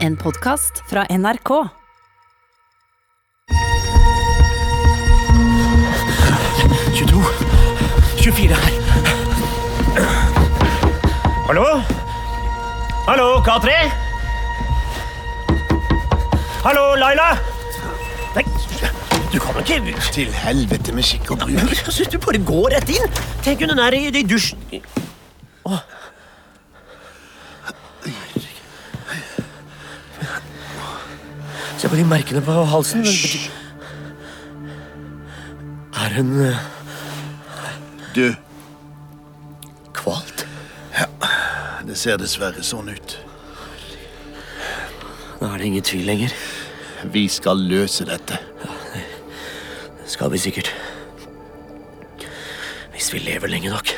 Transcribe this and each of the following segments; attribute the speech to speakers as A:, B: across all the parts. A: En podkast fra NRK.
B: Hallo? Hallo, K3? Hallo, Laila? Nei, du kan ikke
C: Til helvete med skikk og bruk.
B: Altså, Du bare går rett inn. Tenk, hun er i, i dusjen. Åh. Se på de merkene på halsen. Hysj. Er hun eh,
C: Du,
B: kvalt?
C: det ser dessverre sånn ut.
B: Nå er det ingen tvil lenger.
C: Vi skal løse dette.
B: Skal vi sikkert. Hvis vi lever lenge nok.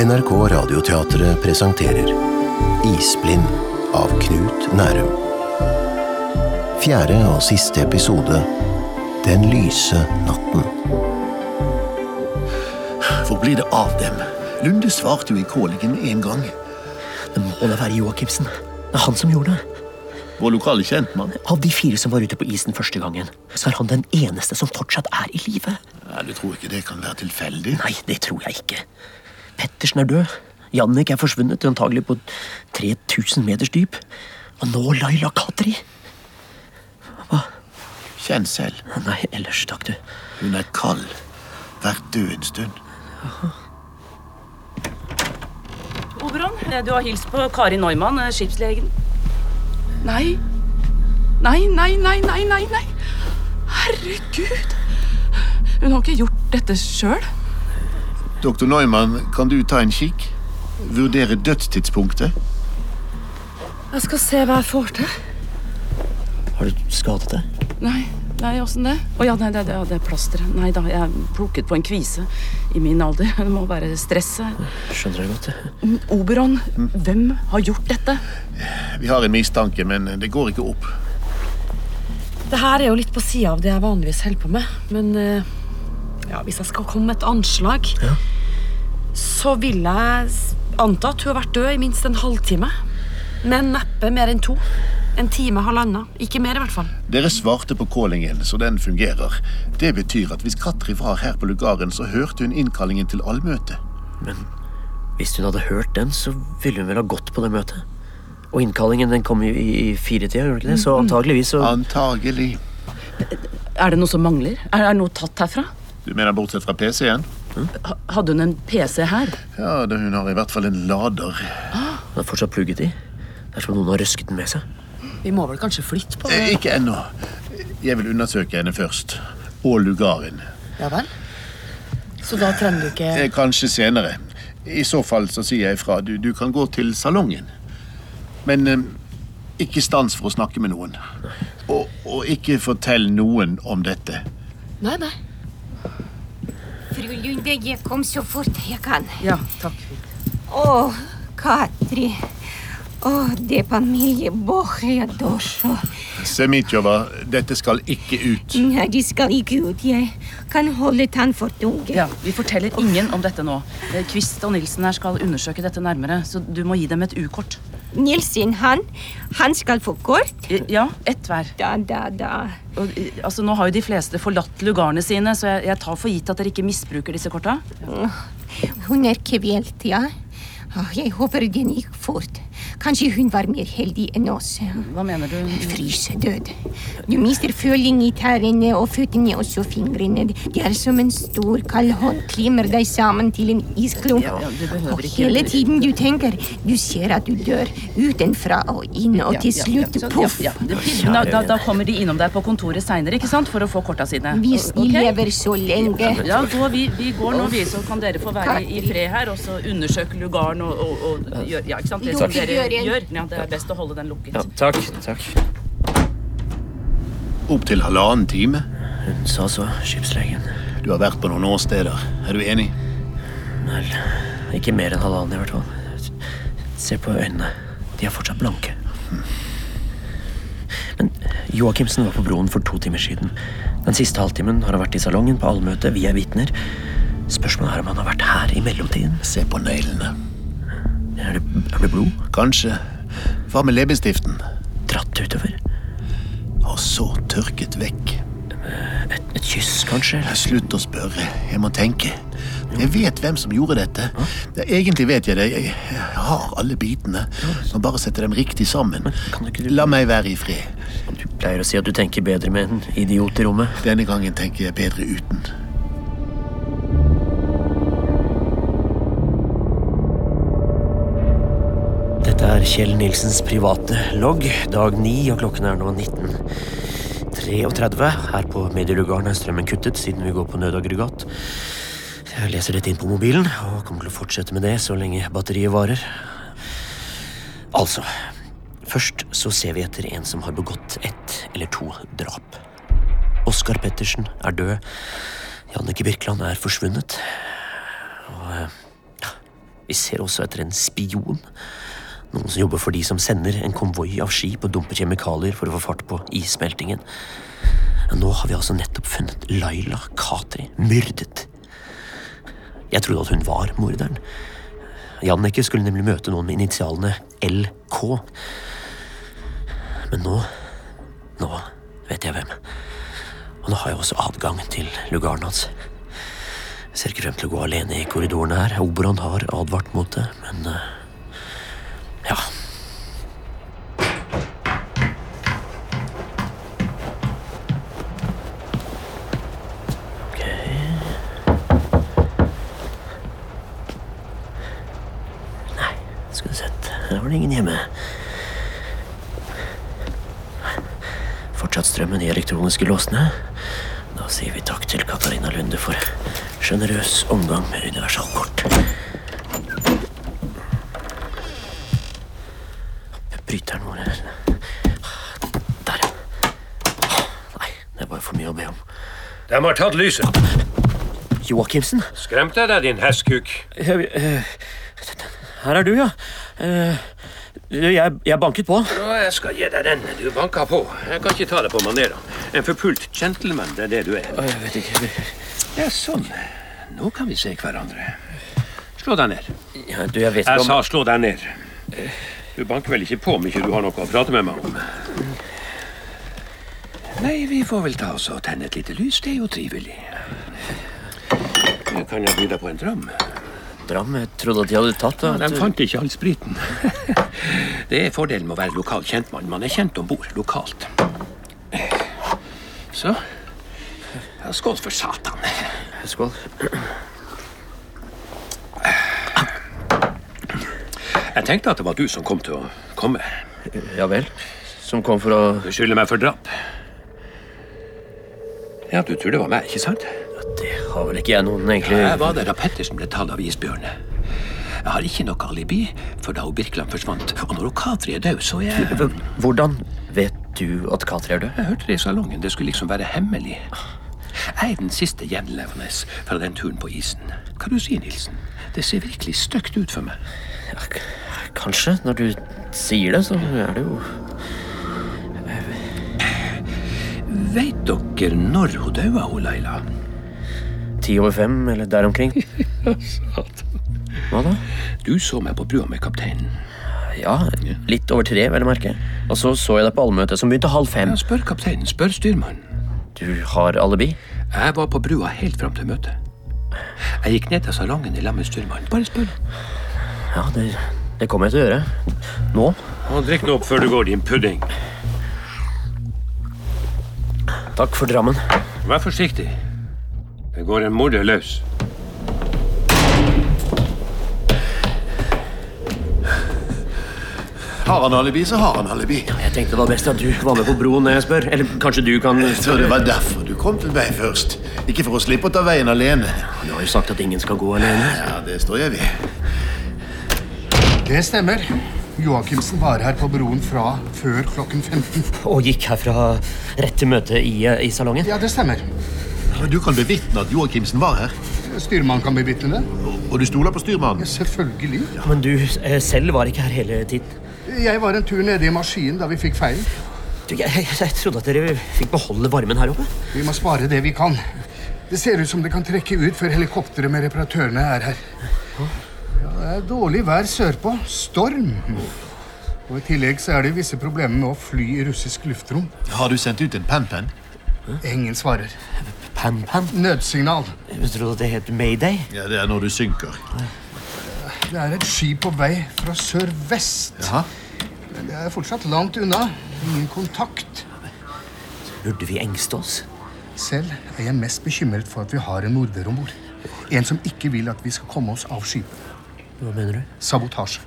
D: NRK Radioteatret presenterer Isblind av Knut Nærum. Fjerde og siste episode Den lyse natten.
C: Hvor blir det av dem? Lunde svarte jo i Kålingen med en gang.
B: Det må da være Joakimsen. Det er han som gjorde det.
C: Vår lokale kjentmann.
B: Av de fire som var ute på isen første gangen, så er han den eneste som fortsatt er i live.
C: Ja, du tror ikke det kan være tilfeldig?
B: Nei, det tror jeg ikke. Pettersen er død. Jannik er forsvunnet, antagelig på 3000 meters dyp. Og nå Laila Kadri.
C: Kjenn selv.
B: Nei, ellers, takk du.
C: Hun er kald. Vært død en stund.
E: Oberon,
F: eh,
E: du har hilst på Kari Neumann, skipslegen.
F: Nei. Nei, nei, nei, nei, nei, nei. Herregud. Hun har ikke gjort dette sjøl.
C: Doktor Neumann, kan du ta en kikk? Vurdere dødstidspunktet?
F: Jeg skal se hva jeg får til.
B: Har du skadet deg?
F: Nei, nei, åssen det? Å ja, nei, det, det, ja, det er plasteret. Nei da, jeg plukket på en kvise. I min alder. Det må være stresset. Mm,
B: Skjønner jeg godt. det.
F: Oberon, hvem har gjort dette?
C: Vi har en mistanke, men det går ikke opp.
G: Det her er jo litt på sida av det jeg vanligvis holder på med, men eh, ja, hvis jeg skal komme med et anslag, så vil jeg s- anta at hun har vært død i minst en halvtime. Men neppe mer enn to. En time, halvannen. Ikke mer, i hvert fall.
C: Dere svarte på callingen, så den fungerer. Det betyr at hvis Katri var her på lugaren, så hørte hun innkallingen til allmøte.
B: Hvis hun hadde hørt den, så ville hun vel ha gått på det møtet. Og innkallingen den kom i, i i firetida, gjorde den ikke det? Så antageligvis så
C: Mm. Antagelig.
F: Er det noe som mangler? Er det noe tatt herfra?
C: Du mener bortsett fra PC-en?
F: Ha- Hadde hun en PC her?
C: Ja, det- hun har i hvert fall en lader.
B: Den er fortsatt plugget i. Det er som om noen har røsket den med seg.
G: Vi må vel kanskje flytte på
C: Eh, Ikke ennå. Jeg vil undersøke henne først. Og lugaren.
G: Ja vel? Så da trenger du ikke
C: Eh, Kanskje senere. I så fall så sier jeg ifra. Du, du kan gå til salongen. Men eh, ikke stans for å snakke med noen. Og, og ikke fortell noen om dette.
G: Nei, nei.
H: Fru Lunde, jeg kom så fort jeg kan.
G: Ja, takk.
H: Å, Katri. Å, det familie Bohja Dosho.
C: Semitjova, dette skal ikke ut.
H: Nei, de skal ikke ut. Jeg kan holde tann for tunge.
F: Ja, Vi forteller ingen om dette nå. Eh, Kvist og Nilsen her skal undersøke dette nærmere, så du må gi dem et U-kort.
H: Nilsen, han, han skal få kort.
F: Eh, Ja, ett hver.
H: Da, da, da.
F: Og, eh, altså, nå har jo de fleste forlatt lugarene sine, så jeg, jeg tar for gitt at dere ikke misbruker disse korta.
H: Hun er kvelt, ja. Å, jeg håper den gikk fort. Kanskje hun var mer heldig enn oss.
F: Hva mener du?
H: Frysedød. Du mister føling i tærne og føttene og så fingrene. Det er som en stor kald hånd klemmer deg sammen til en isklump.
F: Ja, ja, du behøver
H: og
F: ikke-
H: hele tiden du tenker, du ser at du dør utenfra og inn, og til slutt
F: ja,
H: poff.
F: ja, ja. Det- Da, da, da kommer de innom deg på kontoret seinere for å få korta sine.
H: Hvis de
F: Ok?
H: lever så lenge.
F: Ja, gå, vi, vi går nå, vi, så kan dere få være i i fred her og så undersøke lugaren og, og, og gjør- Ja, ikke sant? Det
H: Jo,
F: som
H: vi
F: dere
H: gjør en-
F: gjør. Ja, det er best å holde den lukket.
B: takk. takk.
C: Opptil halvannen time.
B: Hun sa så, skipslegen.
C: Du har vært på noen åsteder. Er du enig?
B: Vel, ikke mer enn halvannen i hvert fall. Se på øynene. De er fortsatt blanke. Men Joakimsen var på broen for to timer siden. Den siste halvtimen har han vært i salongen på allmøte. Vi er vitner. Spørsmålet er om han har vært her i mellomtiden.
I: Se på neglene.
B: Er det, er det blod?
I: Kanskje. Hva med leppestiften?
B: Dratt utover?
I: Og så tørket vekk.
B: Et, et kyss, kanskje? eller?
I: Slutt å spørre. Jeg må tenke. Jeg vet hvem som gjorde dette. Ja, Egentlig vet jeg det. Jeg jeg har alle bitene. Må bare sette dem riktig sammen.
B: kan du ikke du-
I: La meg være i fred.
B: Du pleier å si at du tenker bedre med en idiot i rommet.
I: Denne gangen tenker jeg bedre uten.
B: Dette er Kjell Nilsens private logg. Dag 9, og klokken er nå 19.33. Her på medielugaren er strømmen kuttet siden vi går på nødaggregat. Jeg leser dette inn på mobilen og kommer til å fortsette med det så lenge batteriet varer. Altså Først så ser vi etter en som har begått ett eller to drap. Oskar Pettersen er død. Jannicke Birkeland er forsvunnet. Og eh, vi ser også etter en spion. Noen som jobber for de som sender en konvoi av skip og dumper kjemikalier for å få fart på issmeltingen. Nå har vi altså nettopp funnet Laila Katri myrdet. Jeg trodde at hun var morderen. Jannicke skulle nemlig møte noen med initialene LK. Men nå Nå vet jeg hvem. Og nå har jeg også adgang til lugaren hans. Jeg ser ikke frem til å gå alene i korridorene her. Oberon har advart mot det, men eh, ja. Ok. Nei, skulle sett. Her var det ingen hjemme. Fortsatt strømmen i elektroniske låsene. Da sier vi takk til Katarina Lunde for sjenerøs omgang med universalkort. Bryteren vår er Der. Nei, det var jo for mye å be om.
J: De har tatt lyset.
B: Joakimsen?
J: Skremte jeg deg, din hestkuk?
B: Her er du, ja. Eh, Jeg, jeg banket på.
J: Ja, jeg skal gi deg den. Du banka på. Jeg kan ikke ta det på manerer. En forpult gentleman, det er det du er.
B: Jeg vet ikke.
J: Ja, sånn. Nå kan vi se hverandre. Slå deg ned.
B: Ja, du, jeg vet ikke
J: Jeg
B: om
J: sa slå deg ned. Du banker vel ikke på om ikke du har noe å prate med meg om? Nei, vi får vel ta oss og tenne et lite lys. Det er jo trivelig. Kan jeg by deg på en dram?
B: Dram. Jeg trodde at de hadde tatt det.
J: Ja, de fant ikke all spriten. Det er fordelen med å være lokal kjentmann. Man er kjent om bord lokalt. Så ja, Skål for satan.
B: Skål.
J: Jeg tenkte at det var du som kom til å komme.
B: Ja vel. Som kom for å
J: Du skylder meg for drap. Ja, du tror det var meg, ikke sant?
B: Det har vel ikke jeg noen egentlig
J: Jeg var der da Pettersen ble tatt av isbjørn. Jeg har ikke noe alibi, for da hun Birkeland forsvant, og når hun Katri er død, så er jeg
B: Hvordan vet du at Katri er død?
J: Jeg hørte det i salongen. Det skulle liksom være hemmelig. Jeg er den siste gjenlevende fra den turen på isen. Hva du sier, Nilsen? Det ser virkelig stygt ut for meg.
B: Ja, k- kanskje. Når du sier det, så er det jo
J: Veit dere når hun daua, hun Laila?
B: ti over fem eller der omkring. Hva da?
J: Du så meg på brua med kapteinen.
B: Ja, litt over tre, vel å merke. Og så så jeg deg på allmøtet, som begynte halv fem.
J: Ja, spør kapteinen. Spør styrmannen.
B: Du har alibi?
J: Jeg var på brua helt fram til møtet. Jeg gikk ned til salongen i lag med styrmannen. Bare spør.
B: Ja, det, det kommer jeg til å gjøre. Nå?
J: Drikk nå opp før du går, din pudding.
B: Takk for drammen.
J: Vær forsiktig. Det går en morder løs.
I: Har han alibi, så har han alibi.
B: Jeg tenkte det var best at du var med på broen når jeg spør. Eller kanskje du kan
I: Jeg tror det var derfor du kom til meg først. Ikke for å slippe å ta veien alene.
B: Du har jo sagt at ingen skal gå alene.
I: Ja, det står jeg ved.
K: Det stemmer. Joakimsen var her på broen fra før klokken 15.
B: Og gikk herfra rett til møtet i, eh, i salongen.
K: Ja, det stemmer.
I: Du kan bevitne at Joakimsen var her.
K: Styrmannen kan bevitne det.
I: Og du stoler på styrmannen?
K: Ja, selvfølgelig.
B: Men du eh, selv var ikke her hele tiden.
K: Jeg var en tur nede i maskinen da vi fikk feilen.
B: Du, jeg, jeg, jeg trodde at dere fikk beholde varmen her oppe.
K: Vi må spare det vi kan. Det ser ut som det kan trekke ut før helikopteret med reparatørene er her. Ja, det er dårlig vær sørpå. Storm. Og I tillegg så er det visse problemer med å fly i russisk luftrom.
C: Har du sendt ut en pan-pan?
K: Ingen svarer.
B: Pan-pan?
K: Nødsignal.
B: Jeg trodde at det het Mayday.
C: Ja, Det er når du synker.
K: Det er et skip på vei fra sørvest.
C: Jaha.
K: Men det er fortsatt langt unna. Ingen kontakt.
B: Burde vi engste oss?
K: Selv er jeg mest bekymret for at vi har en morder om bord. En som ikke vil at vi skal komme oss av skipet.
B: Hva mener du?
K: Sabotasje.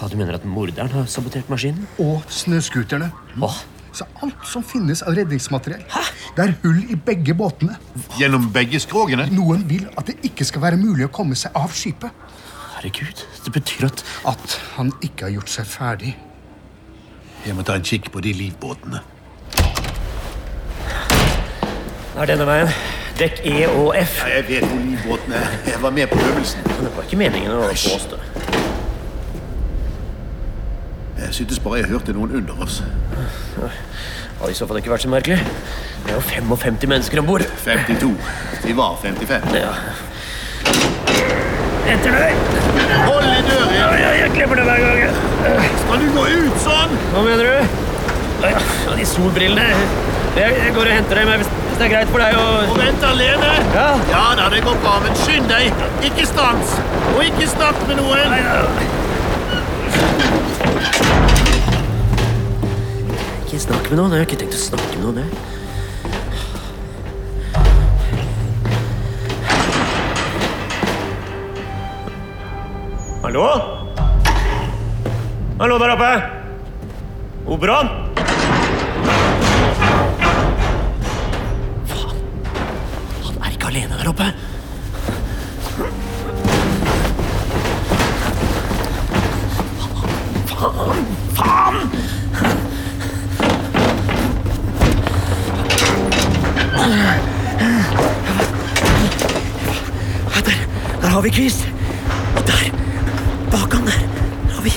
B: Ja, du mener at morderen har sabotert maskinen?
K: Og snøskuterne.
B: Hva?
K: Så alt som finnes av redningsmateriell. Det er hull i begge båtene.
C: Gjennom begge skrogene?
K: Noen vil at det ikke skal være mulig å komme seg av skipet.
B: Herregud, det betyr at
K: At han ikke har gjort seg ferdig.
C: Jeg må ta en kikk på de livbåtene.
B: Det er denne veien. Dekk E og F.
C: Jeg vet hvor livbåtene er. Jeg var med på øvelsen.
B: Det var ikke meningen å påstå.
C: Jeg syntes bare jeg hørte noen under oss.
B: Hadde i så fall ikke vært så merkelig. Det er jo 55 mennesker om bord.
C: 52. De var 55.
B: Ja. Etter deg!
C: Hold i døren!
B: Ja, jeg klemmer det hver gang.
C: Skal du gå ut sånn?
B: Hva mener du? Å ja, De solbrillene. Jeg, jeg går og henter dem jeg, hvis hvis det er greit for deg å
C: Og vent alene?
B: Ja.
C: Ja da, det går bra, men skynd deg. Ikke stans. Og ikke snakk med noen.
B: Ikke snakk med noen. Jeg har ikke tenkt å snakke med noen. jeg. Hallo? Hallo der oppe! Oberon? Faen. Han er ikke alene der oppe. Der, der har vi Chris. Og der, bak han der, har vi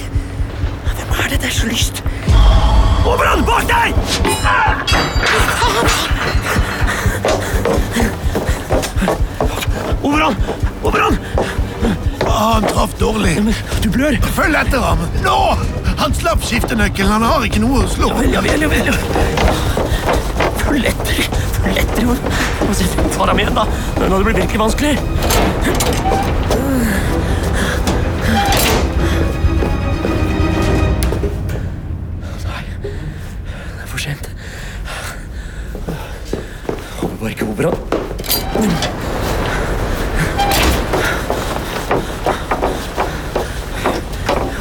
B: Hvem er det? Det er så lyst. Over han, bak deg! Over han! Over han!
C: Ah, han traff dårlig.
B: Men Du blør.
C: Følg etter ham. Nå! Han slapp skiftenøkkelen. Han har ikke noe å slå.
B: Ja vel, ja vel, ja vel. Følg etter. Følg etter. og- og se, Ta dem igjen, da. Nå hadde det blitt virkelig vanskelig. Nei, det er for sent. Håper bare ikke Oberon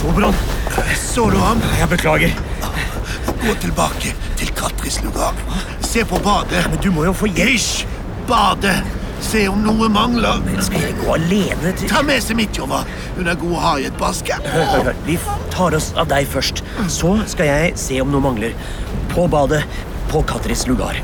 B: Oberon,
C: Så du ham?
B: jeg beklager.
C: Gå tilbake til Katris lugar. Se på badet.
B: Men du må jo få hjelp.
C: Hysj! Badet! Se om noe mangler.
B: Skal jeg gå alene til
C: Ta med seg Midtjova. Hun er god å ha i et basket.
B: Hør, hør, hør. Vi tar oss av deg først. Så skal jeg se om noe mangler. På badet. På Katris lugar.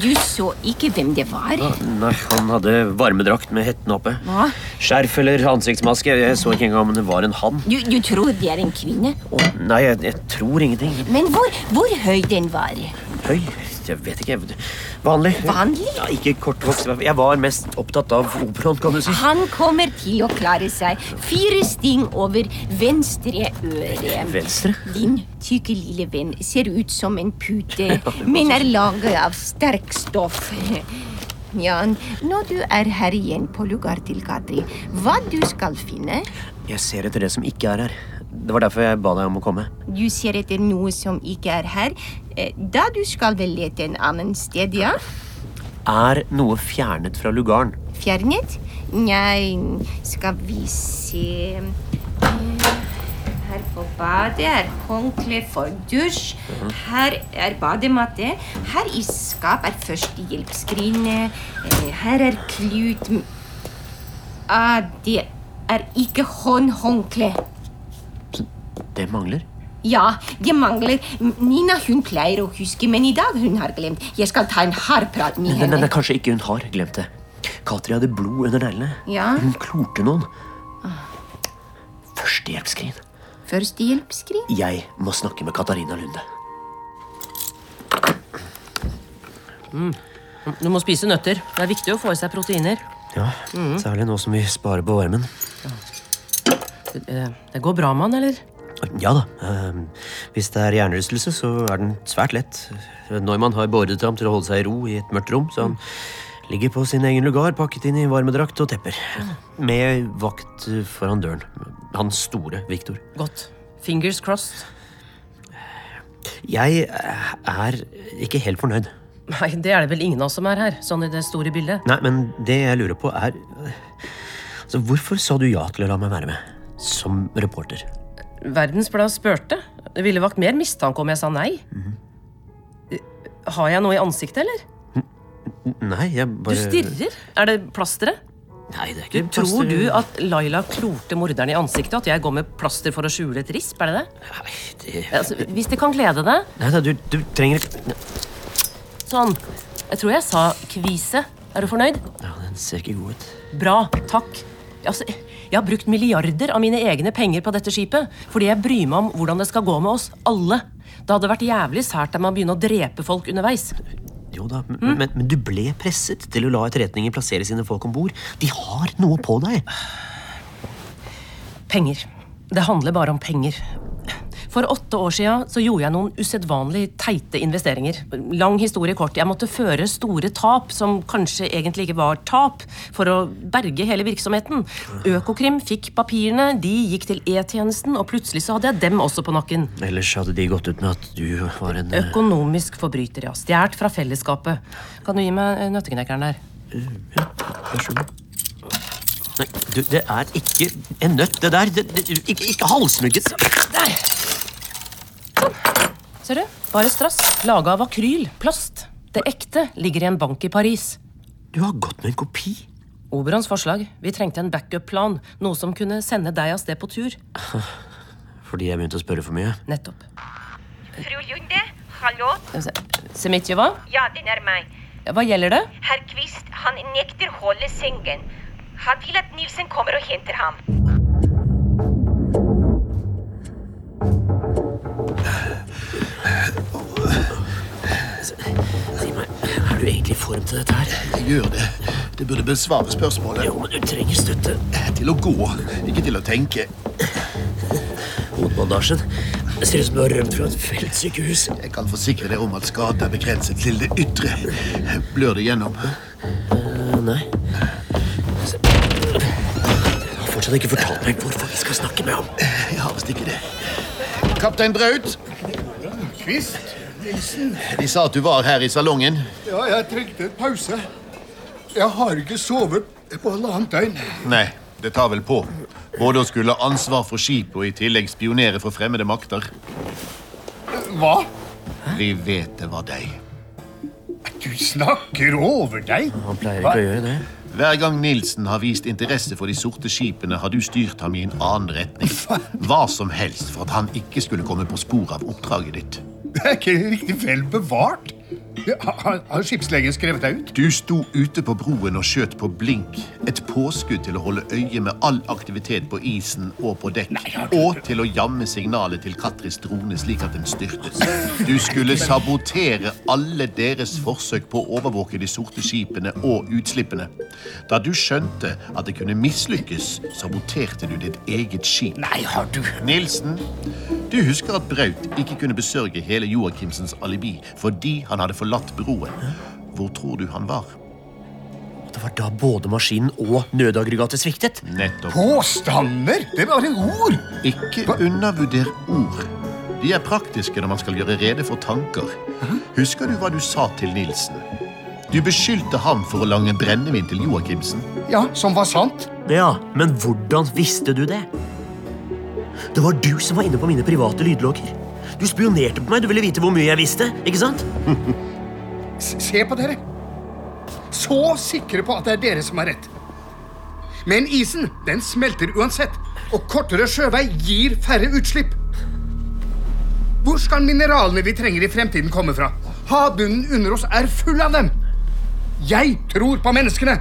H: Du så ikke hvem det var.
F: Ah.
B: Nei, Han hadde varmedrakt med hetten oppe.
H: Hva?
B: Skjerf eller ansiktsmaske. Jeg så ikke engang om det var en hann.
H: Du, du tror det er en kvinne.
B: Å, Nei, jeg, jeg tror ingenting.
H: Men hvor, hvor høy den var?
B: Høy? Jeg vet ikke. Vanlig.
H: Vanlig?
B: Ja, ikke kortvokst. Jeg var mest opptatt av operaen, kan du si.
H: Han kommer til å klare seg. Fire sting over venstre øre.
B: Venstre?
H: Din tykke lille venn ser ut som en pute, men er laget av sterk stoff. Jan, når du er her igjen på lugar til Katri, hva du skal finne?
B: Jeg ser etter det som ikke er her. Det var derfor jeg ba deg om å komme.
H: Du ser etter noe som ikke er her. Eh, Da du skal vel lete en annen sted, ja?
B: Er noe fjernet fra lugaren?
H: Fjernet? Nei, skal vi se Eh, Her på badet er håndkle for dusj. Her er badematte. Her i skap er førstehjelpsskrinet. Eh, Her er klut m- ah, Det er ikke håndhåndkle.
B: Det mangler.
H: Ja, det mangler. M- Nina hun pleier å huske, men i dag hun har glemt. Jeg skal ta en hard prat med
B: Nei, nei,
H: henne.
B: nei, kanskje ikke hun har glemt det. Katri hadde blod under neglene.
H: Ja.
B: Hun klorte noen. Førstehjelpsskrin.
H: Førstehjelpsskrin?
B: Jeg må snakke med Katarina Lunde.
E: Mm. Du må spise nøtter. Det er viktig å få i seg proteiner.
B: Ja,
E: Mhm.
B: Særlig nå som vi sparer på varmen.
E: Det, det- Eh, det går bra med han, eller?
B: Ja da. eh, Hvis det er hjernerystelse, så er den svært lett. Neumann har beordret ham til å holde seg i ro i et mørkt rom, så han ligger på sin egen lugar pakket inn i varmedrakt og tepper. Med vakt foran døren. Han store Viktor.
E: Godt. Fingers crossed.
B: Jeg er ikke helt fornøyd.
E: Nei, det er det vel ingen av oss som er her, sånn i det store bildet.
B: Nei, men det jeg lurer på, er altså, Hvorfor sa du ja til å la meg være med? Som reporter.
E: Verdensbladet spurte. Det ville vakt mer mistanke om jeg sa nei.
B: Mhm.
E: Eh, Har jeg noe i ansiktet, eller?
B: N- Nei, jeg bare
E: Du stirrer. Er det plasteret?
B: Nei, det er
E: Du,
B: ikke
E: tror
B: plaster-
E: du at Laila klorte morderen i ansiktet? At jeg går med plaster for å skjule et risp? Er det det?
B: det-
E: Altså, hvis det kan glede deg.
B: Nei da, du, du trenger ikke
E: Sånn. Jeg tror jeg sa kvise. Er du fornøyd?
B: Ja, Den ser ikke god ut.
E: Bra. Takk. Altså, jeg har brukt milliarder av mine egne penger på dette skipet fordi jeg bryr meg om hvordan det skal gå med oss alle. Det hadde vært jævlig sært av meg å begynne å drepe folk underveis.
B: Jo da, men,
E: Mm.
B: men, men du ble presset til å la etterretningen plassere sine folk om bord. De har noe på deg.
E: Penger. Det handler bare om penger. For åtte år siden så gjorde jeg noen usedvanlig teite investeringer. Lang historie kort. Jeg måtte føre store tap, som kanskje egentlig ikke var tap, for å berge hele virksomheten. Økokrim fikk papirene, de gikk til E-tjenesten, og plutselig så hadde jeg dem også på nakken.
B: Ellers hadde de gått ut med at du var en eh,
E: Økonomisk forbryter, ja. Stjålet fra fellesskapet. Kan du gi meg eh, nøtteknekkeren der?
B: eh, Vær så god. Nei, du, det er ikke en nøtt, det der. Det, det, ikke ikke halshugget.
E: Der! Sånn. Ser du? Bare strass. Laga av akryl. Plast. Det ekte ligger i en bank i Paris.
B: Du har gått med en kopi.
E: Oberons forslag. Vi trengte en backup-plan. Noe som kunne sende deg av sted på tur.
B: Fordi jeg begynte å spørre for mye.
E: Nettopp.
L: Fru Lunde, hallo?
E: Skal vi se. Semitjeva,
L: Ja, det er meg.
E: hva gjelder det?
L: Herr Kvist, han nekter holde sengen. Han vil at Nilsen kommer og henter ham.
B: Si meg, er du egentlig i form til dette her?
C: Jeg gjør det. Det burde besvare spørsmålet.
B: Jo, men du trenger støtte.
C: Til å gå, ikke til å tenke.
B: Hodebandasjen. Det ser ut som du har rømt fra et feltsykehus.
C: Jeg kan forsikre deg om at skaden er begrenset til det ytre. Blør det gjennom?
B: Eh, nei. Du har fortsatt ikke fortalt meg hvorfor vi skal snakke med ham.
C: Jeg har visst ikke det. Kaptein Braut,
K: Kvist? Nilsen?
C: de sa at du var her i salongen.
K: Ja, jeg trengte en pause. Jeg har ikke sovet på halvannet døgn.
C: Nei, det tar vel på. Både å skulle ha ansvar for skipet og i tillegg spionere for fremmede makter.
K: Hva?
C: Vi vet det var deg.
K: Du snakker over deg?
B: Han pleier
C: ikke å
B: gjøre det.
C: Hver gang Nilsen har vist interesse for de sorte skipene, har du styrt ham i en annen retning. Hva som helst for at han ikke skulle komme på sporet av oppdraget ditt.
K: Det er ikke riktig vel bevart. Har, har- har skipslegen skrevet deg ut?
C: Du sto ute på broen og skjøt på blink. Et påskudd til å holde øye med all aktivitet på isen og på dekk. Og til å jamme signalet til Katris drone slik at den styrtet. Du skulle sabotere alle deres forsøk på å overvåke de sorte skipene og utslippene. Da du skjønte at det kunne mislykkes, saboterte du ditt eget skip.
K: Nei, har du...
C: Nilsen, du husker at Braut ikke kunne besørge hele Joakimsens alibi fordi han hadde forlatt broen. Hvor tror du han var?
B: Det var da både maskinen og nødaggregatet sviktet.
C: Nettopp.
K: Påstander? Det var en ord!
C: Ikke undervurder ord. De er praktiske når man skal gjøre rede for tanker. Husker du hva du sa til Nilsen? Du beskyldte ham for å lange brennevin til Joakimsen.
K: Ja, som var sant.
B: Ja, men hvordan visste du det? Det var du som var inne på mine private lydlogger. Du spionerte på meg, du ville vite hvor mye jeg visste, ikke sant?
K: S- Se på dere. Så sikre på at det er dere som har rett. Men isen, den smelter uansett. Og kortere sjøvei gir færre utslipp. Hvor skal mineralene vi trenger i fremtiden komme fra? Havbunnen under oss er full av dem. Jeg tror på menneskene.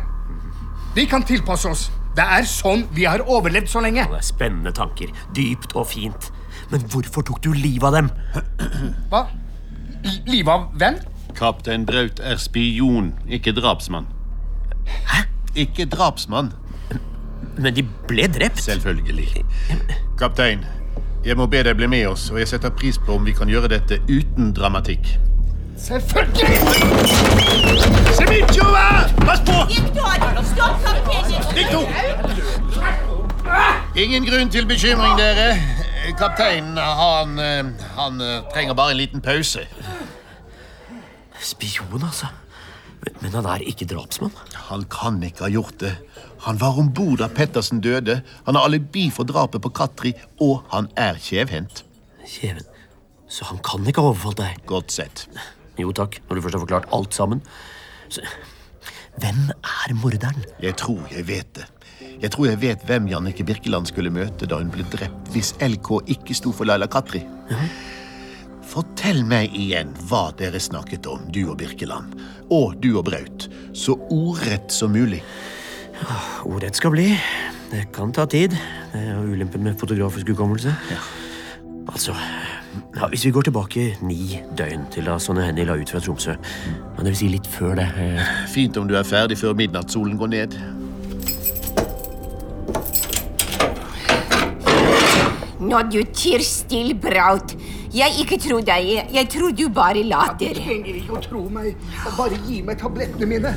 K: Vi kan tilpasse oss. Det er sånn vi har overlevd så lenge.
B: Det er spennende tanker. Dypt og fint. Men hvorfor tok du livet av dem?
K: Hva? Livet av hvem?
C: Kaptein Braut er spion, ikke drapsmann. Hæ? Ikke drapsmann.
B: Men de ble drept?
C: Selvfølgelig. Kaptein, jeg må be deg bli med oss, og jeg setter pris på om vi kan gjøre dette uten dramatikk.
K: Selvfølgelig!
C: Semitsjova! Pass på!
L: Victor!
C: Ingen grunn til bekymring, dere. Kapteinen, han, eh, han eh, trenger bare en liten pause.
B: Spion, altså. Men han er ikke drapsmann.
C: Han kan ikke ha gjort det. Han var om bord da Pettersen døde. Han har alibi for drapet på Katri, og han er kjevhendt.
B: Kjeven. Så han kan ikke ha overfalt deg?
C: Godt sett.
B: Jo takk, når du først har forklart alt sammen. Så, hvem er morderen?
C: Jeg tror jeg vet det. Jeg tror jeg vet hvem Jannicke Birkeland skulle møte da hun ble drept hvis LK ikke sto for Laila Katri. Fortell meg igjen hva dere snakket om, du og Birkeland. Og du og Braut. Så ordrett som mulig.
B: Ordrett skal bli. Det kan ta tid. Eh, Det er jo ulempen med fotografisk hukommelse. Altså ja, Hvis vi går tilbake ni døgn til da Sonja Hennie la ut fra Tromsø ja, Det vil si litt før det. eh,
C: Fint om du er ferdig før midnattssolen går ned.
H: Når du tyr still, Braut. Jeg ikke tror deg. Jeg tror du bare
K: Du
H: later.
K: trenger ikke å tro meg. Bare gi meg tablettene mine.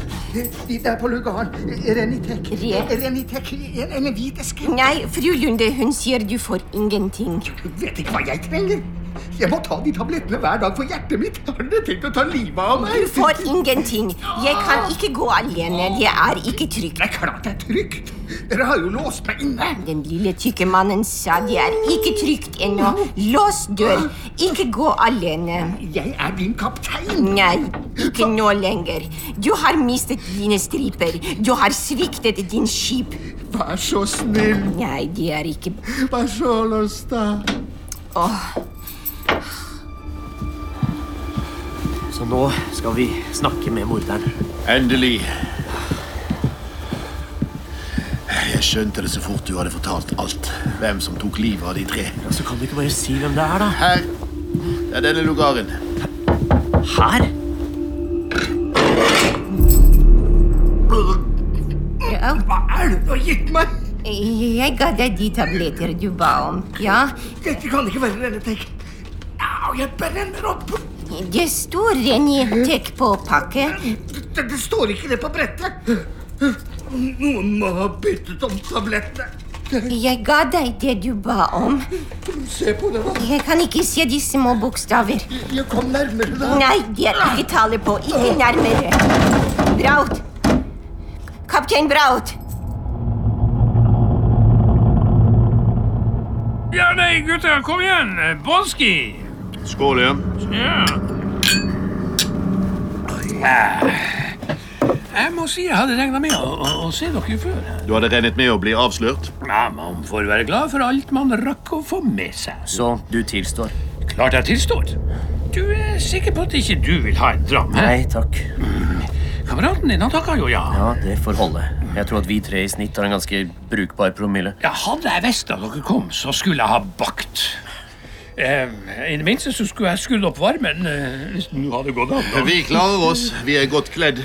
K: De der på lugaren. Renitek.
H: Re-
K: Renitek. En, en hvit eske.
H: Nei, fru Lunde, hun sier du får ingenting.
K: Du vet ikke hva jeg trenger. Jeg må ta de tablettene hver dag for hjertet mitt. Har dere tenkt å ta livet av meg?
H: Du får ingenting. Jeg kan ikke gå alene. Det er ikke trygt.
K: Det er klart det er trygt. Dere har jo låst meg inne.
H: Den lille tykke mannen sa det er ikke trygt ennå. Lås dør. Ikke gå alene.
K: Jeg er din kaptein.
H: Nei, ikke nå lenger. Du har mistet dine striper. Du har sviktet din skip.
K: Vær så snill.
H: Nei, det er ikke
K: Vær så løsta.
H: Åh.
B: Så nå skal vi snakke med morderen.
C: Endelig. Jeg skjønte det så fort du hadde fortalt alt. Hvem som tok livet av de tre.
B: Ja, Så kan du ikke bare si hvem det er, da?
C: Her. Det er denne lugaren.
B: Her?
H: Hva
K: er det du har gitt meg?
H: Jeg ga deg de tabletter du ba om. Ja,
K: Dette kan ikke være Renitek. Au, jeg brenner opp.
H: det står Renitek på pakke.
K: Det, det står ikke det på brettet. Noen må ha byttet om tablettene.
H: Jeg ga deg det du ba om.
K: Se på det, da.
H: Jeg kan ikke se de små bokstaver.
K: Jeg kom nærmere, da.
H: Nei, det er ikke tale på. Ikke nærmere. Braut! Kaptein Braut!
J: Ja, nei, gutter, kom igjen. Bonski.
C: Skål igjen.
J: Ja. Jeg må si jeg hadde regna med å, å, å se dere før.
C: Du hadde regnet med å bli avslørt?
J: Ja, Man får være glad for alt man rakk å få med seg.
B: Så du tilstår?
J: Klart jeg tilstår. Du er sikker på at ikke du vil ha en dram? hæ?
B: Nei takk.
J: Kameraten din han takka jo ja.
B: Ja, det får holde. Jeg tror at vi tre i snitt har en ganske brukbar promille.
J: Ja, Hadde jeg visst at dere kom, så skulle jeg ha bakt. Eh, I det minste så skulle jeg skrudd opp varmen. Eh, hvis den nå hadde gått an. da.
C: Vi klarer oss. Vi er godt kledd.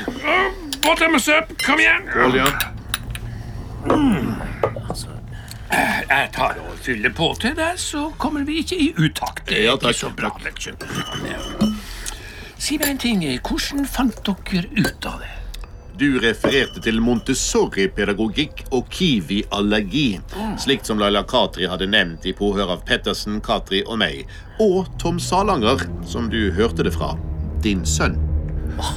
J: Båt dem og søp. Kom igjen.
C: Skål igjen.
J: Mm. Altså, Jeg tar og fyller på til deg, så kommer vi ikke i utakt. Det er
C: Ja,
J: ikke
C: takk.
J: så bra med kjøtt. Si meg en ting. eh, Hvordan fant dere ut av det?
C: Du refererte til Montessori-pedagogikk og kiwi-allergi,
J: Mm.
C: slikt som Laila Katri hadde nevnt i påhør av Pettersen, Katri og meg, og Tom Salanger, som du hørte det fra. Din sønn.
J: Ah,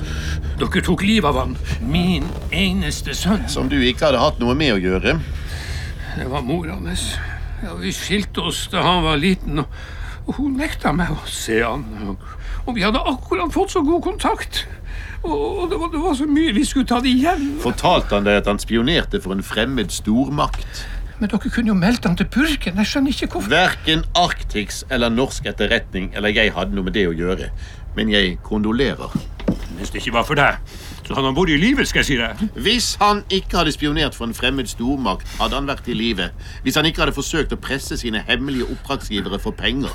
J: Dere tok livet av han, min eneste sønn.
C: Som du ikke hadde hatt noe med å gjøre.
J: Det var mor hans. Ja, vi skilte oss da han var liten, og, og hun nekta meg å se han. Og, og vi hadde akkurat fått så god kontakt. Og, og det, var, det var så mye vi skulle ta det igjen.
C: Fortalte han deg at han spionerte for en fremmed stormakt?
J: Men dere kunne jo meldt han til purken. Jeg skjønner ikke hvorfor.
C: Verken Arctix eller norsk etterretning eller jeg hadde noe med det å gjøre. Men jeg kondolerer.
J: Hvis det ikke var for deg, Så hadde han vært i live, skal jeg si deg.
C: Hvis han ikke hadde spionert for en fremmed stormakt, hadde han vært i live. Hvis han ikke hadde forsøkt å presse sine hemmelige oppdragsgivere for penger.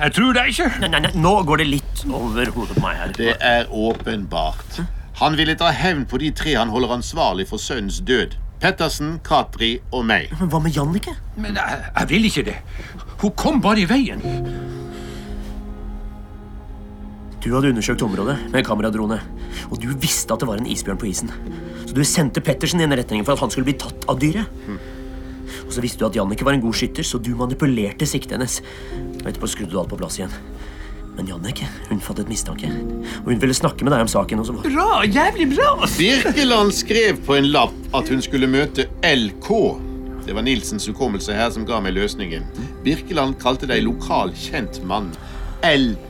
J: Jeg tror det ikke.
B: Nei, nei, nei, Nå går det litt over hodet på meg her.
C: Det er åpenbart. Han ville ta hevn på de tre han holder ansvarlig for sønnens død. Pettersen, Katri og meg.
B: Men hva med Jannicke?
J: Men jeg, jeg vil ikke det. Hun kom bare i veien.
B: Du hadde undersøkt området med kameradrone, og du visste at det var en isbjørn på isen. Så du sendte Pettersen i den retningen for at han skulle bli tatt av dyret. Og så visste du at Jannicke var en god skytter, så du manipulerte siktet hennes. Og etterpå skrudde du alt på plass igjen. Men Jannicke hun fattet mistanke, og hun ville snakke med deg om saken. Og så var...
J: Bra, jævlig bra!
C: Birkeland skrev på en lapp at hun skulle møte LK. Det var Nilsens hukommelse her som ga meg løsningen. Birkeland kalte deg lokal kjent mann. LK.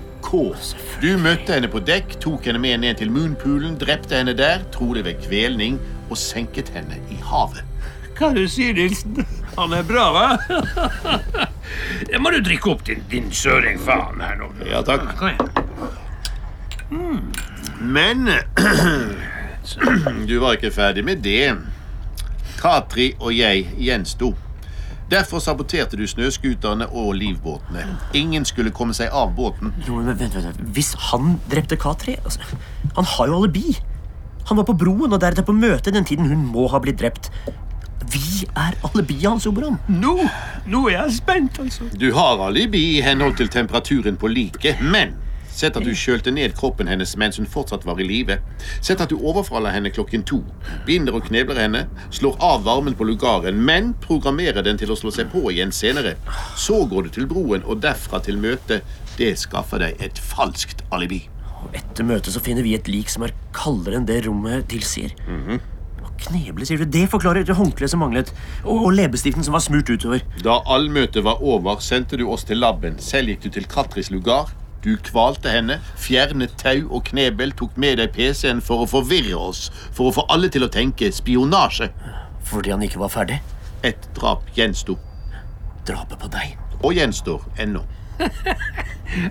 C: Du møtte henne på dekk, tok henne med ned til Moonpoolen, drepte henne der, trolig ved kvelning, og senket henne i havet.
J: Hva du sier, Nilsen? Han er bra, hva? Jeg må du drikke opp din, din søring faen her nå.
C: Ja, takk.
J: Kom igjen. Mm,
C: Men du var ikke ferdig med det. Katri og jeg gjensto. Derfor saboterte du snøskuterne og livbåtene. Ingen skulle komme seg av båten.
B: Jo, men vent, vent, vent. Hvis han drepte Katri altså, Han har jo alibi. Han var på broen og deretter på møtet den tiden hun må ha blitt drept. Vi er alibiet hans, Oberon.
J: Nå, nå er jeg spent, altså.
C: Du har alibi i henhold til temperaturen på liket, men sett at du kjølte ned kroppen hennes mens hun fortsatt var i live. Sett at du overfaller henne klokken to, binder og knebler henne, slår av varmen på lugaren, men programmerer den til å slå seg på igjen senere. Så går du til broen og derfra til møtet. Det skaffer deg et falskt alibi.
B: Og etter møtet så finner vi et lik som er kaldere enn det rommet tilsier. Og kneble, sier du. Det forklarer håndkleet som manglet, og, og leppestiften som var smurt utover.
C: Da allmøtet var over, sendte du oss til labben. Selv gikk du til Katris lugar. Du kvalte henne, fjernet tau og knebel, tok med deg PC-en for å forvirre oss. For å få alle til å tenke spionasje.
B: Fordi han ikke var ferdig?
C: Et drap gjensto.
B: Drapet på deg.
C: Og gjenstår ennå.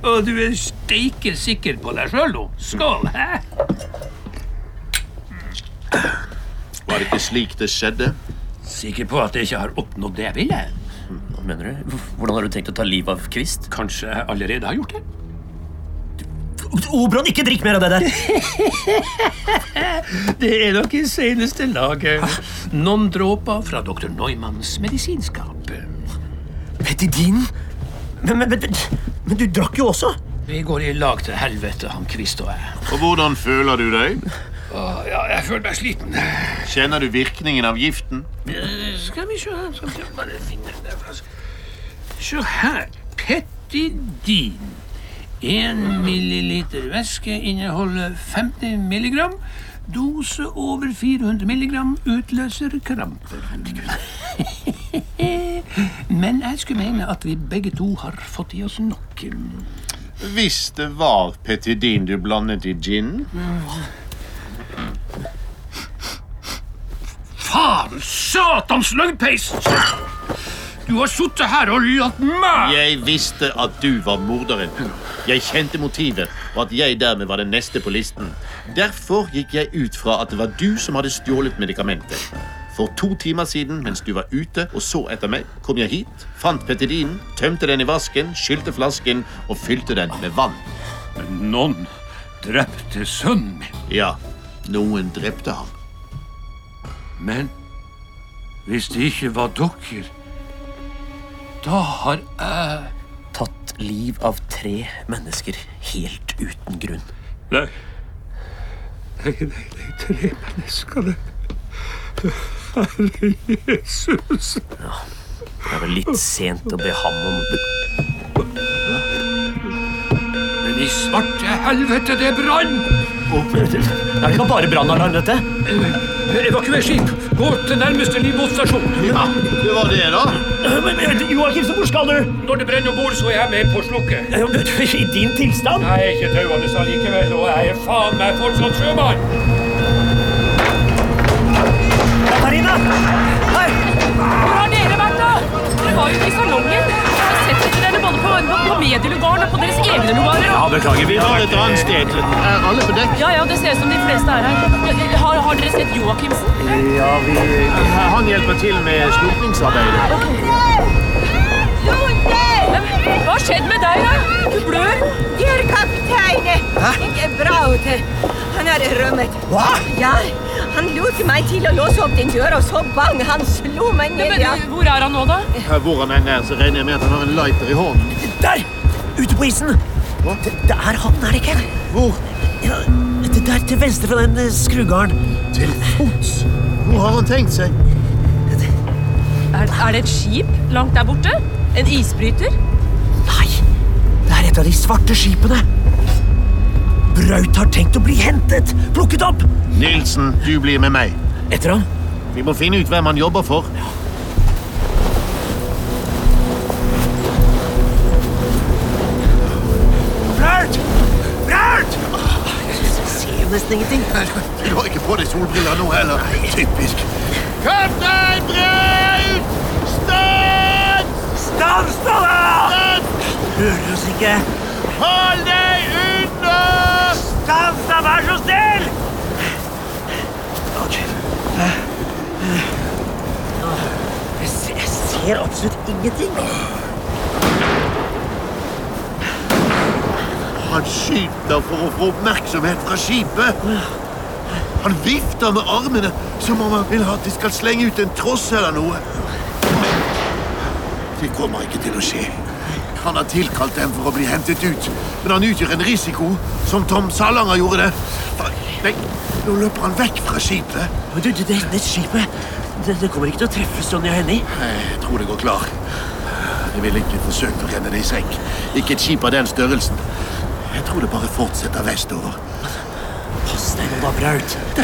J: Og du er steiker sikker på deg sjøl nå. Skål. Hæ?
C: Var det ikke slik det skjedde?
J: Sikker på at jeg ikke har oppnådd det jeg ville?
B: Hva mener du? Hvor- Hvordan har du tenkt å ta livet av Kvist?
J: Kanskje jeg allerede har gjort det?
B: Oberon, ikke drikk mer av det der!
J: Det er nok i seneste laget. Noen dråper fra dr. Neumanns medisinskap.
B: Petidinen? Men, men, men, men du drakk jo også.
J: Vi går i lag til helvete, han Kvist og jeg.
C: Og hvordan føler du deg?
J: Åh, Ah, ja, jeg føler meg sliten.
C: Kjenner du virkningen av giften?
J: Eh, Skal vi se her Skal vi bare finne den der flasken. Se her. Petidin. 1 milliliter væske inneholder 50 milligram. Dose over 400 milligram utløser kramper. Men jeg skulle mene at vi begge to har fått i oss nok.
C: Hvis det var petidin du blandet i ginen
J: Faen! Satans løgnpeis! Du har sittet her og latt meg
C: Jeg visste at du var morderen. Jeg kjente motivet, og at jeg dermed var den neste på listen. Derfor gikk jeg ut fra at det var du som hadde stjålet medikamentet. For to timer siden, mens du var ute og så etter meg, kom jeg hit, fant petidinen, tømte den i vasken, skylte flasken og fylte den med vann.
J: Noen drepte sønnen min.
C: Ja, noen drepte ham.
J: Men hvis det ikke var dere, da har jeg
B: Tatt liv av tre mennesker helt uten grunn.
J: Nei. Nei, nei, nei, tre mennesker det. Herre Jesus.
B: Det er vel litt sent å be ham om
J: Men i svarte helvete, det brann!
B: Å, Er det ikke bare brannalarm, dette?
J: Evakuer skip! eh, Gå til nærmeste livbåtstasjon!
C: Ja, det var det, da.
B: Eh, Men, men, Joakim, så hvor skal du?
J: Når det brenner om bord, så er jeg med på å slukke.
B: I din tilstand?
J: Jeg er ikke døende allikevel, og jeg er faen meg fortsatt sjømann!
B: Katarina! Her!
E: Hvor har dere vært, da? Dere var jo i salongen. Jeg har sett etter dere både på, på medielugaren og på deres
F: Nevner du bare?
C: Ja, beklager. Vi har et annet sted.
I: Er Eh, alle på dekk?
F: Ja, ja, det ser ut som de fleste er her. Ja, Har, har dere sett Joakimsen?
I: Ja, vi Han hjelper til med slukningsarbeidet.
F: Hva har skjedd med deg, da? Du blør.
H: Herr kaptein! Braute. Han har rømmet.
M: Hva?
H: Ja, Han lot meg til å låse opp den døra, og så bang, han slo meg
F: Ja,
H: ned.
F: men, hvor er han nå, da?
I: Her Hvor han enn er, så regner jeg med at han har en lighter i hånden.
M: Der! Ute på isen! Det, det er han, er det ikke?
I: Hvor?
M: Ja, det der til venstre fra den eh, skrugarden.
I: Til fots? Hvor har han tenkt seg?
F: Er, er det et skip langt der borte? En isbryter?
M: Nei, det er et av de svarte skipene. Braut har tenkt å bli hentet! Plukket opp!
I: Nilsen, du blir med meg.
M: Etter ham?
I: Vi må finne ut hvem han jobber for.
M: Braut! Braut! Jeg ser jo nesten ingenting.
I: Du har ikke på deg solbriller nå heller. Typisk. Kaptein Braut! Stans!
M: Stans, da! Hører oss ikke.
I: Hold deg unna!
M: Stans, da, vær så snill! Ok. Eh, eh. Åh, Jeg ser, jeg ser absolutt ingenting.
I: Han skyter for å få oppmerksomhet fra skipet. Han vifter med armene som om han vil ha at de skal slenge ut en tross eller noe. Det kommer ikke til å skje. Han har tilkalt dem for å bli hentet ut, men han utgjør en risiko, som Tom Salanger gjorde det. Nei, nå løper han vekk fra skipet.
M: Men du, det, det, det skipet det, det kommer ikke til å treffe Sonja og Henny.
I: Jeg tror det går klar. Jeg vil ikke forsøke å renne det i sekk. Ikke et skip av den størrelsen. Jeg tror det bare fortsetter vestover.
M: Pass deg nå, da, Braut.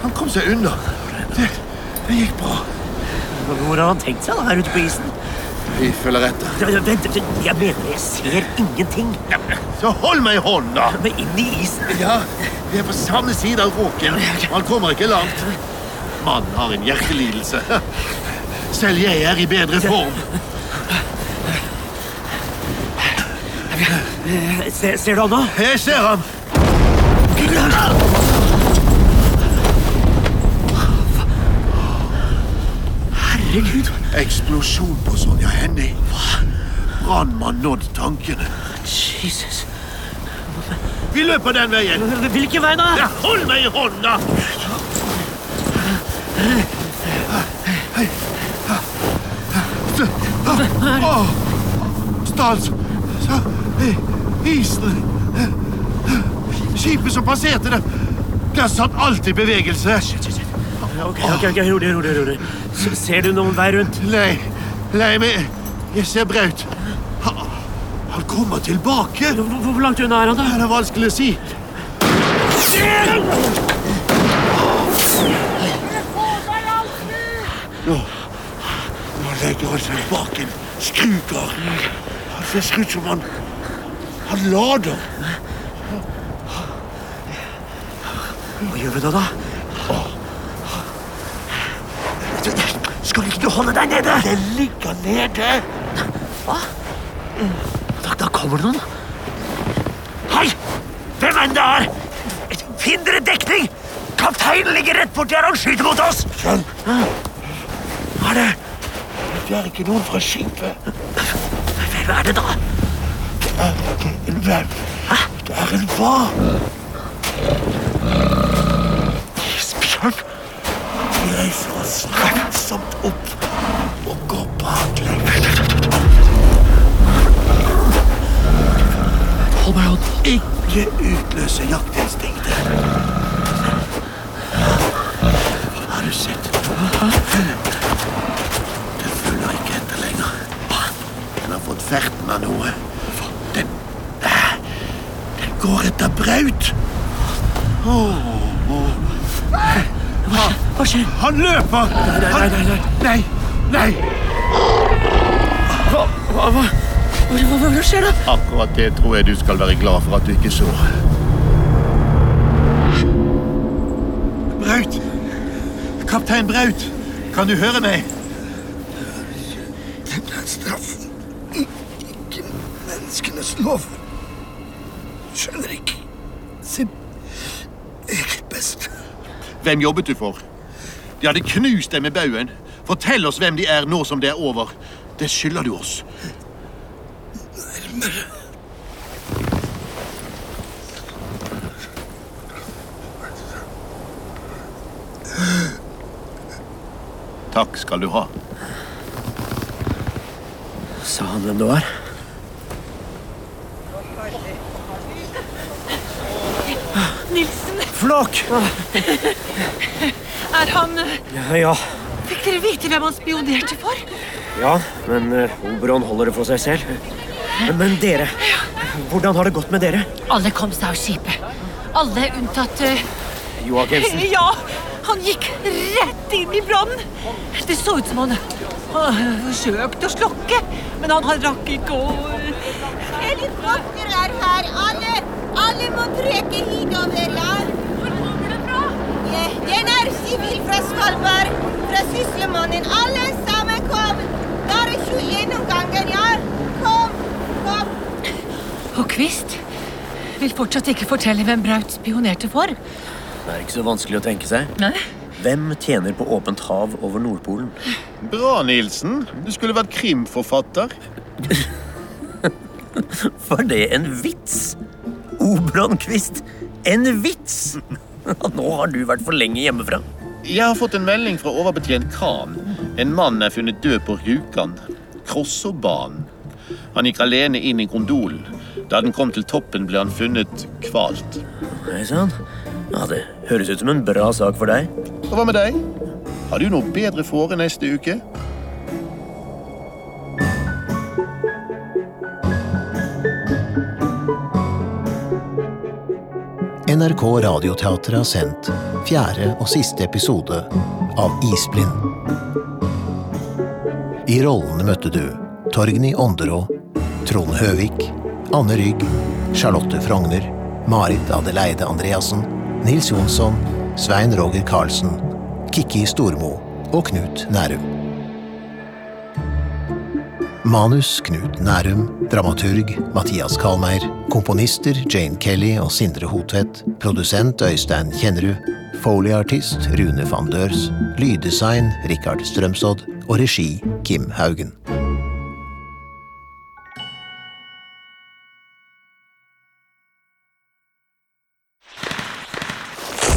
I: Han kom seg unna. Det, det gikk bra.
M: Hvor har han tenkt seg da, her ute på isen?
I: Vi følger etter.
M: Ja, ja, Vent, vent, jeg mener jeg ser ingenting.
I: Så hold meg i hånden, da!
M: Men inn i isen.
I: Ja, Vi er på samme side av kråken. Han kommer ikke langt. Mannen har en hjertelidelse. Selv jeg er i bedre form.
M: Eh, Ser, ser du han nå?
I: Jeg ser ham.
M: Herregud.
I: Eksplosjon på Sonja Hennie. Brannmann nådd tankene.
M: Jesus.
I: Vi løper den veien.
M: Hvilken vei da?
I: Ja, hold meg i hånden, da! Åh, Stans! Så- Isen! Skipet som passerte det, der satt alt i bevegelse.
M: Ok, ok, ok, rolig, rolig, rolig. S- Ser du noen vei rundt?
I: Nei, nei, men jeg ser Braut. Han- Han kommer tilbake.
M: Hvor, hvor langt unna er han da?
I: Det er vanskelig å si. Nå, nå legger han seg bak en skruker. Han ser ut som han Han lader.
M: Hva gjør vi da da? Du, Skal ikke du holde deg nede?
I: Den ligger nede.
M: Da, da kommer det noen. Hei! Hvem enn det er! Finn dere dekning! Kapteinen ligger rett borti her og skyter mot oss!
I: Skjønn,
M: Hva er det?
I: det er ikke noen fra skipet.
M: Hvem er det da?
I: En hvalp. Det er en hval.
M: Isbjørn?
I: De reiser oss langsomt opp og går baklengs.
M: Hold meg i hånden.
I: Ikke utløse jaktinstinktet. Har du sett? Den følger ikke etter lenger. Den har fått ferten av noe. Den eh, Den går etter Braut. Åh, åh. Han-
M: Hva skjer?
I: Han løper!
M: nei,
I: Han-
M: nei, nei,
I: Nei, nei!
M: Hva, hva, hva? Hva, hva, hva skjer da?
I: Akkurat det tror jeg du skal være glad for at du ikke så. Braut! Kaptein Braut! Kan du høre meg?
K: Det er straff. Ikke menneskenes lov. skjønner ikke sin eget beste.
C: Hvem jobbet du for? De hadde knust deg med baugen. Fortell oss hvem de er nå som det er over. Det skylder du oss.
K: Nærmere.
C: Takk skal du ha.
B: Sa han hvem det var?
M: Nilsen,
B: Flåk!
M: er han
B: Ja, ja.
M: Fikk dere vite hvem han spionerte for?
B: ja men uh, Oberon holder det for seg selv. Men, men dere, hvordan har det gått med dere?
M: Alle kom seg av skipet. Alle unntatt eh,
B: Joakimsen?
M: Ja! Han gikk rett inn i brannen. Det så ut som han eh, forsøkte å slokke, men han han rakk ikke å eh,
H: Helikopter er her. Alle, alle må trekke hitover, ja. Hvor kommer den fra? Den er sivil fra Svalbard. Fra Sysselmannen. Alle sammen, kom. Bare kjør gjennom gangen, ja. Kom, kom.
M: Og Kvist vil fortsatt ikke fortelle hvem Braut spionerte for.
B: Det er ikke så vanskelig å tenke seg.
M: Nei.
B: Hvem tjener på åpent hav over Nordpolen?
C: Bra, Nilsen. Du skulle vært krimforfatter.
B: Var det en vits? Oberonkvist, en vits! Nå har du vært for lenge hjemmefra.
C: Jeg har fått en melding fra overbetjent Khan. En mann er funnet død på Rjukan. Krossobanen. Han gikk alene inn i gondolen. Da den kom til toppen, ble han funnet kvalt.
B: Nei sann. Ja, det høres ut som en bra sak for deg.
C: Og hva med deg? Har du noe bedre fore neste uke?
D: NRK Radioteatret har sendt fjerde og siste episode av Isblind. I rollene møtte du Torgny Ånderå, Trond Høvik, Anne Rygg, Charlotte Frogner, Marit Adeleide Andreassen, Nils Jonsson, Svein Roger Karlsen, Kikki Stormo og Knut Nærum. Manus Knut Nærum, dramaturg Mathias Kalmeier, komponister Jane Kelly og Sindre Hotvedt, produsent Øystein Kjennerud, folieartist Rune van Dørs, lyddesign Rikard Strømsodd og regi Kim Haugen.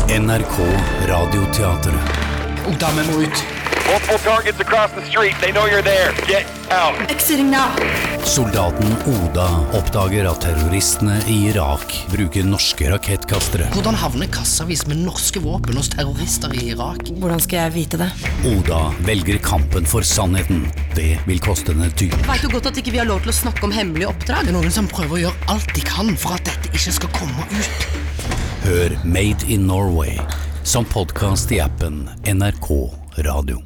N: NRK Radioteatret.
E: Ungdommen må ut.
J: Multiple targets across the street. They know you're there. Get out.
E: Exiting now.
N: Soldaten Oda oppdager at terroristene i Irak bruker norske rakettkastere.
E: Hvordan havner kassavis med norske våpen hos terrorister i Irak?
O: Hvordan skal jeg vite det?
N: Oda velger kampen for sannheten. Det vil koste henne dyrt.
E: Veit du godt at ikke vi har lov til å snakke om hemmelige oppdrag? Det er noen som prøver å gjøre alt de kan for at dette ikke skal komme ut.
N: Hør Made in Norway som podkast i appen NRK Radio.